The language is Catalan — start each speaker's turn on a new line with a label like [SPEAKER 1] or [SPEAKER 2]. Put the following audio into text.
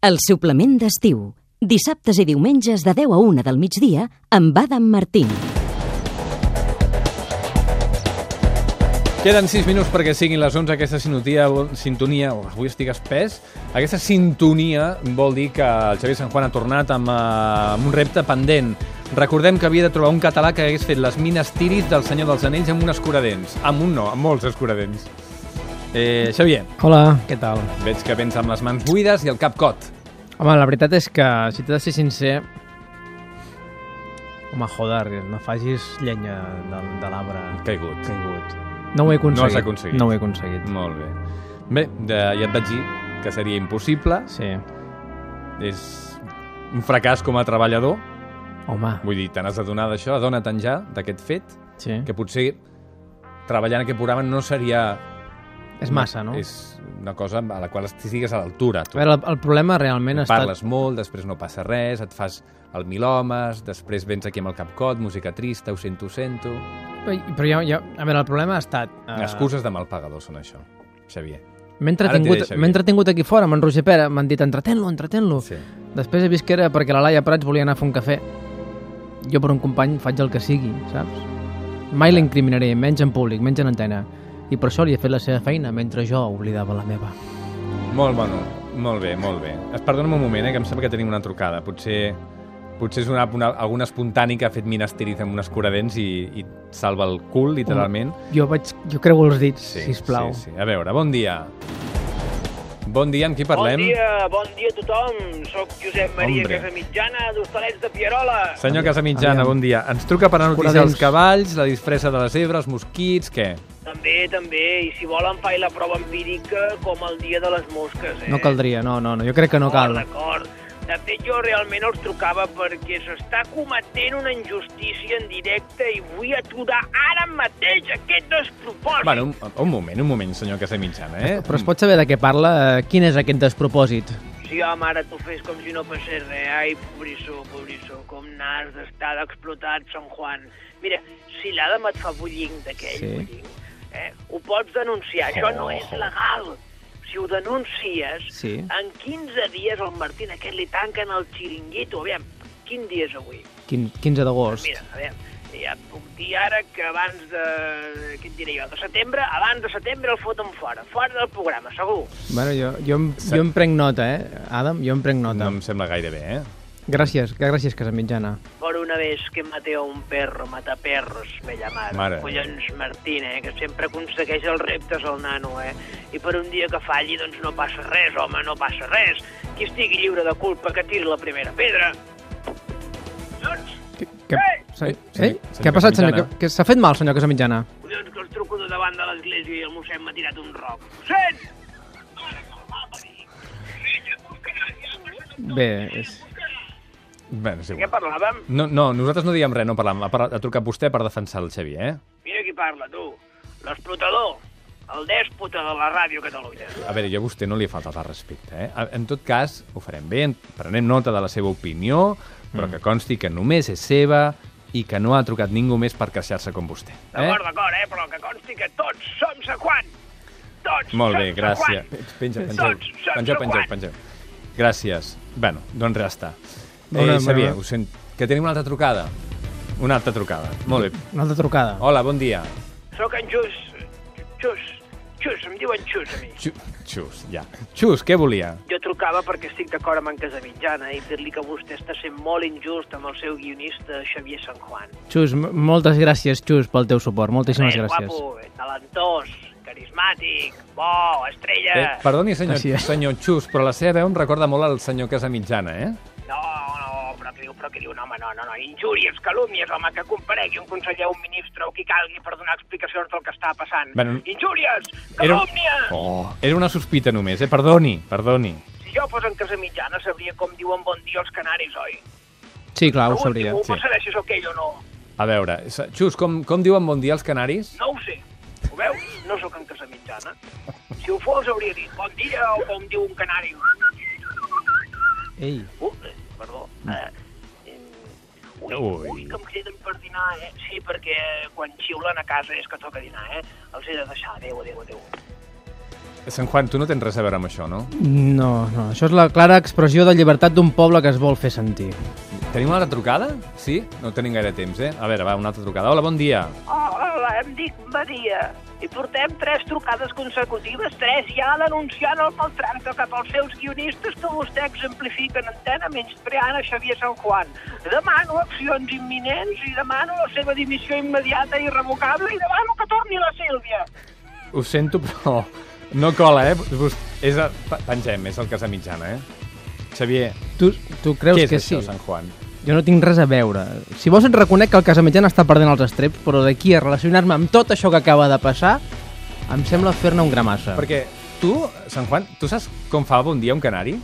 [SPEAKER 1] El suplement d'estiu. Dissabtes i diumenges de 10 a 1 del migdia amb Adam Martín.
[SPEAKER 2] Queden 6 minuts perquè siguin les 11 aquesta sinotia, sintonia, oh, avui estic espès, aquesta sintonia vol dir que el Xavier San Juan ha tornat amb, eh, amb un repte pendent. Recordem que havia de trobar un català que hagués fet les mines tiris del Senyor dels Anells amb un escuradents. Amb un no, amb molts escuradents. Eh, Xavier,
[SPEAKER 3] Hola, què tal?
[SPEAKER 2] veig que vens amb les mans buides i el cap cot.
[SPEAKER 3] Home, la veritat és que, si t'he de ser sincer... Home, joder, no facis llenya de, de l'arbre
[SPEAKER 2] Caigut.
[SPEAKER 3] caigut. No ho he aconseguit.
[SPEAKER 2] has aconseguit.
[SPEAKER 3] No ho he aconseguit.
[SPEAKER 2] Molt bé. Bé, de, ja et vaig dir que seria impossible.
[SPEAKER 3] Sí.
[SPEAKER 2] És un fracàs com a treballador.
[SPEAKER 3] Home,
[SPEAKER 2] Vull dir, te n'has d'adonar d'això, adona-te'n ja d'aquest fet,
[SPEAKER 3] sí.
[SPEAKER 2] que potser treballar en aquest programa no seria...
[SPEAKER 3] És massa, no? És...
[SPEAKER 2] És una cosa a la qual estigues a l'altura, tu.
[SPEAKER 3] A veure, el, el problema realment ha estat...
[SPEAKER 2] Parles molt, després no passa res, et fas el mil homes, després vens aquí amb el capcot, música trista, ho sento, ho sento...
[SPEAKER 3] Ai, Però ja, ja... A veure, el problema ha estat... eh,
[SPEAKER 2] Excuses de mal pagador són això, Xavier. Ara
[SPEAKER 3] M'he
[SPEAKER 2] t'hi
[SPEAKER 3] entretingut,
[SPEAKER 2] deixa,
[SPEAKER 3] m'he entretingut aquí fora amb en Roger Pera, m'han dit entretén-lo, entretén-lo.
[SPEAKER 2] Sí.
[SPEAKER 3] Després he vist que era perquè la Laia Prats volia anar a fer un cafè. Jo per un company faig el que sigui, saps? Mai l'incriminaré, menys en públic, menys en antena. I per això li he fet la seva feina, mentre jo oblidava la meva.
[SPEAKER 2] Molt bueno, molt bé, molt bé. Es perdona'm un moment, eh, que em sembla que tenim una trucada. Potser, potser és una, una, algun espontani que ha fet Minas Tirith amb un escuradents i, i salva el cul, literalment.
[SPEAKER 3] Jo vaig... Jo creu els dits, sí, sisplau.
[SPEAKER 2] Sí, sí. A veure, bon dia. Bon dia, amb qui parlem?
[SPEAKER 4] Bon dia, bon dia a tothom. Sóc Josep Maria
[SPEAKER 2] Hombre.
[SPEAKER 4] Hombre. Casamitjana, d'Hostalets de Pierola.
[SPEAKER 2] Senyor Casamitjana,
[SPEAKER 3] Aviam.
[SPEAKER 2] bon dia. Ens truca per anunciar
[SPEAKER 3] Escuradents.
[SPEAKER 2] els cavalls, la disfressa de les ebres, els mosquits, què?
[SPEAKER 4] També, també. I si volen, faig la prova empírica com el dia de les mosques, eh?
[SPEAKER 3] No caldria, no, no, no, jo crec que no cal.
[SPEAKER 4] D'acord. De fet, jo realment els trucava perquè s'està cometent una injustícia en directe i vull aturar ara mateix aquest despropòsit.
[SPEAKER 2] Bueno, un, un moment, un moment, senyor Casamitjana, eh?
[SPEAKER 3] Però es pot saber de què parla? Eh, Quin és aquest despropòsit?
[SPEAKER 4] Sí, home, ara tu fes com si no passés res. Ai, pobrissó, pobrissó, com n'has d'estar d'explotat, Sant Juan. Mira, si l'Adam et fa bullying d'aquell,
[SPEAKER 3] Sí.
[SPEAKER 4] sí. eh, ho pots denunciar, això no és legal. Si ho denuncies,
[SPEAKER 3] Sí.
[SPEAKER 4] en 15 dies al Martín aquest li tanquen el xiringuito. Aviam, quin dia és avui?
[SPEAKER 3] Quin- 15 d'agost.
[SPEAKER 4] Mira, a veure, ja et puc dir ara que abans de... Què et diré jo? De setembre, abans de setembre el foten fora, fora del programa, segur.
[SPEAKER 3] Bueno, jo, jo, em- jo em prenc nota, eh? Adam, jo em prenc
[SPEAKER 2] No
[SPEAKER 3] nota.
[SPEAKER 2] em sembla gaire bé, eh?
[SPEAKER 3] Gràcies, gràcies, Casamitjana.
[SPEAKER 4] Por una vez que maté a un perro, mata perros, me llamaron.
[SPEAKER 2] Mare.
[SPEAKER 4] Collons, Martín, eh, que sempre aconsegueix els reptes el nano, eh? I per un dia que falli, doncs no passa res, home, no passa res. Qui estigui lliure de culpa que tiri la primera pedra. Collons,
[SPEAKER 3] Què,
[SPEAKER 4] Ei!
[SPEAKER 3] se,
[SPEAKER 2] senyor-
[SPEAKER 3] ei?
[SPEAKER 2] senyor
[SPEAKER 3] Què ha passat, senyor?
[SPEAKER 2] Casamitjana?
[SPEAKER 3] Que, que s'ha fet mal, senyor Casamitjana?
[SPEAKER 4] collons, que els truco de davant de l'església i el mossèn m'ha tirat un roc. Mossèn!
[SPEAKER 3] Bé, és...
[SPEAKER 2] Bueno, és
[SPEAKER 4] De què
[SPEAKER 2] igual.
[SPEAKER 4] parlàvem?
[SPEAKER 2] No, no, nosaltres no diem res, no parlam. Ha, parlat, ha trucat vostè per defensar el Xavier, eh?
[SPEAKER 4] Mira qui parla, tu. L'explotador, el dèspota de la ràdio Catalunya.
[SPEAKER 2] A veure, jo a vostè no li he faltat al respecte, eh? A- En tot cas, ho farem bé, en- prenem nota de la seva opinió, però que consti que només és seva i que no ha trucat ningú més per queixar-se com vostè. Eh?
[SPEAKER 4] D'acord, d'acord, eh? Però que consti que tots som sequant. Tots
[SPEAKER 2] Molt
[SPEAKER 4] som
[SPEAKER 2] bé, gràcies.
[SPEAKER 4] sequant.
[SPEAKER 2] Penja, pengeu.
[SPEAKER 4] Doncs, saps
[SPEAKER 2] Pengeu,
[SPEAKER 4] el
[SPEAKER 2] pengeu,
[SPEAKER 4] guant.
[SPEAKER 2] pengeu. Gràcies. Bueno, doncs res està.
[SPEAKER 3] Bona,
[SPEAKER 2] Eh, Xavier,
[SPEAKER 3] bona.
[SPEAKER 2] ho sent... que tenim una altra trucada. Una altra trucada. Molt bé.
[SPEAKER 3] Una altra trucada.
[SPEAKER 2] Hola, bon dia.
[SPEAKER 4] Sóc en Xus. Xus. Xus, em diuen Xus a mi.
[SPEAKER 2] Xu- Xus, ja. Xus, què volia?
[SPEAKER 4] Jo trucava perquè estic d'acord amb en Casamitjana i dir-li que vostè està sent molt injust amb el seu guionista Xavier San Juan.
[SPEAKER 3] Xus, m- moltes gràcies, Xus, pel teu suport. Moltíssimes
[SPEAKER 4] Eh,
[SPEAKER 3] gràcies.
[SPEAKER 4] Guapo, eh, talentós, carismàtic, bo, estrella...
[SPEAKER 2] Eh, perdoni, senyor,
[SPEAKER 3] Així és.
[SPEAKER 2] senyor Xus, però la seva veu em recorda molt al senyor Casamitjana, eh?
[SPEAKER 4] No, no, però que diu, però que diu, no, home, no, no, no, injúries, calúmnies, home, que comparegui un conseller, un ministre o qui calgui per donar explicacions del que està passant.
[SPEAKER 2] Bueno,
[SPEAKER 4] injúries,
[SPEAKER 2] Era,
[SPEAKER 4] calúmnies!
[SPEAKER 2] oh, era una sospita només, eh? Perdoni, perdoni.
[SPEAKER 4] Si jo fos en casa mitjana sabria com diuen bon dia els canaris, oi?
[SPEAKER 3] Sí, clar, ho
[SPEAKER 4] Segur,
[SPEAKER 3] sabria.
[SPEAKER 4] Ho
[SPEAKER 3] Sí.
[SPEAKER 4] sí. saber si sóc ell o no.
[SPEAKER 2] A veure, s- Xus, com, com diuen bon dia els canaris?
[SPEAKER 4] No ho sé. Ho veus? No sóc en casa mitjana. Si ho fos hauria dit bon dia o com diu un canari.
[SPEAKER 3] Ei,
[SPEAKER 4] Uh, eh, perdó. Eh, eh, ui,
[SPEAKER 2] Ui.
[SPEAKER 4] ui, que em criden per dinar, eh? Sí, perquè quan xiulen a casa és que toca dinar, eh? Els he de deixar. Adéu, adéu, adéu.
[SPEAKER 2] Sant Juan, tu no tens res a veure amb això, no?
[SPEAKER 3] No, no, això és la clara expressió de llibertat d'un poble que es vol fer sentir.
[SPEAKER 2] Tenim una altra trucada? Sí? No tenim gaire temps, eh? A veure, va, una altra trucada. Hola, bon dia.
[SPEAKER 4] Oh, Hola, em dic Maria. I portem tres trucades consecutives, tres ja denunciant el maltracte cap als seus guionistes que vostè exemplifica en antena menyspreant a Xavier San Juan. Demano accions imminents i demano la seva dimissió immediata i irrevocable i demano que torni la Sílvia.
[SPEAKER 2] Ho sento, però no cola, eh? Vos- És a... pa- Pengem, és el casa mitjana, eh? Xavier,
[SPEAKER 3] Tu, tu creus
[SPEAKER 2] què és
[SPEAKER 3] que
[SPEAKER 2] això,
[SPEAKER 3] sí?
[SPEAKER 2] Sant Juan?
[SPEAKER 3] Jo no tinc res a veure. Si vols et reconec que el Casamitjana està perdent els estreps, però d'aquí a relacionar-me amb tot això que acaba de passar, em sembla fer-ne un gramassa.
[SPEAKER 2] Perquè tu, Sant Juan, tu saps com fa bon dia un canari?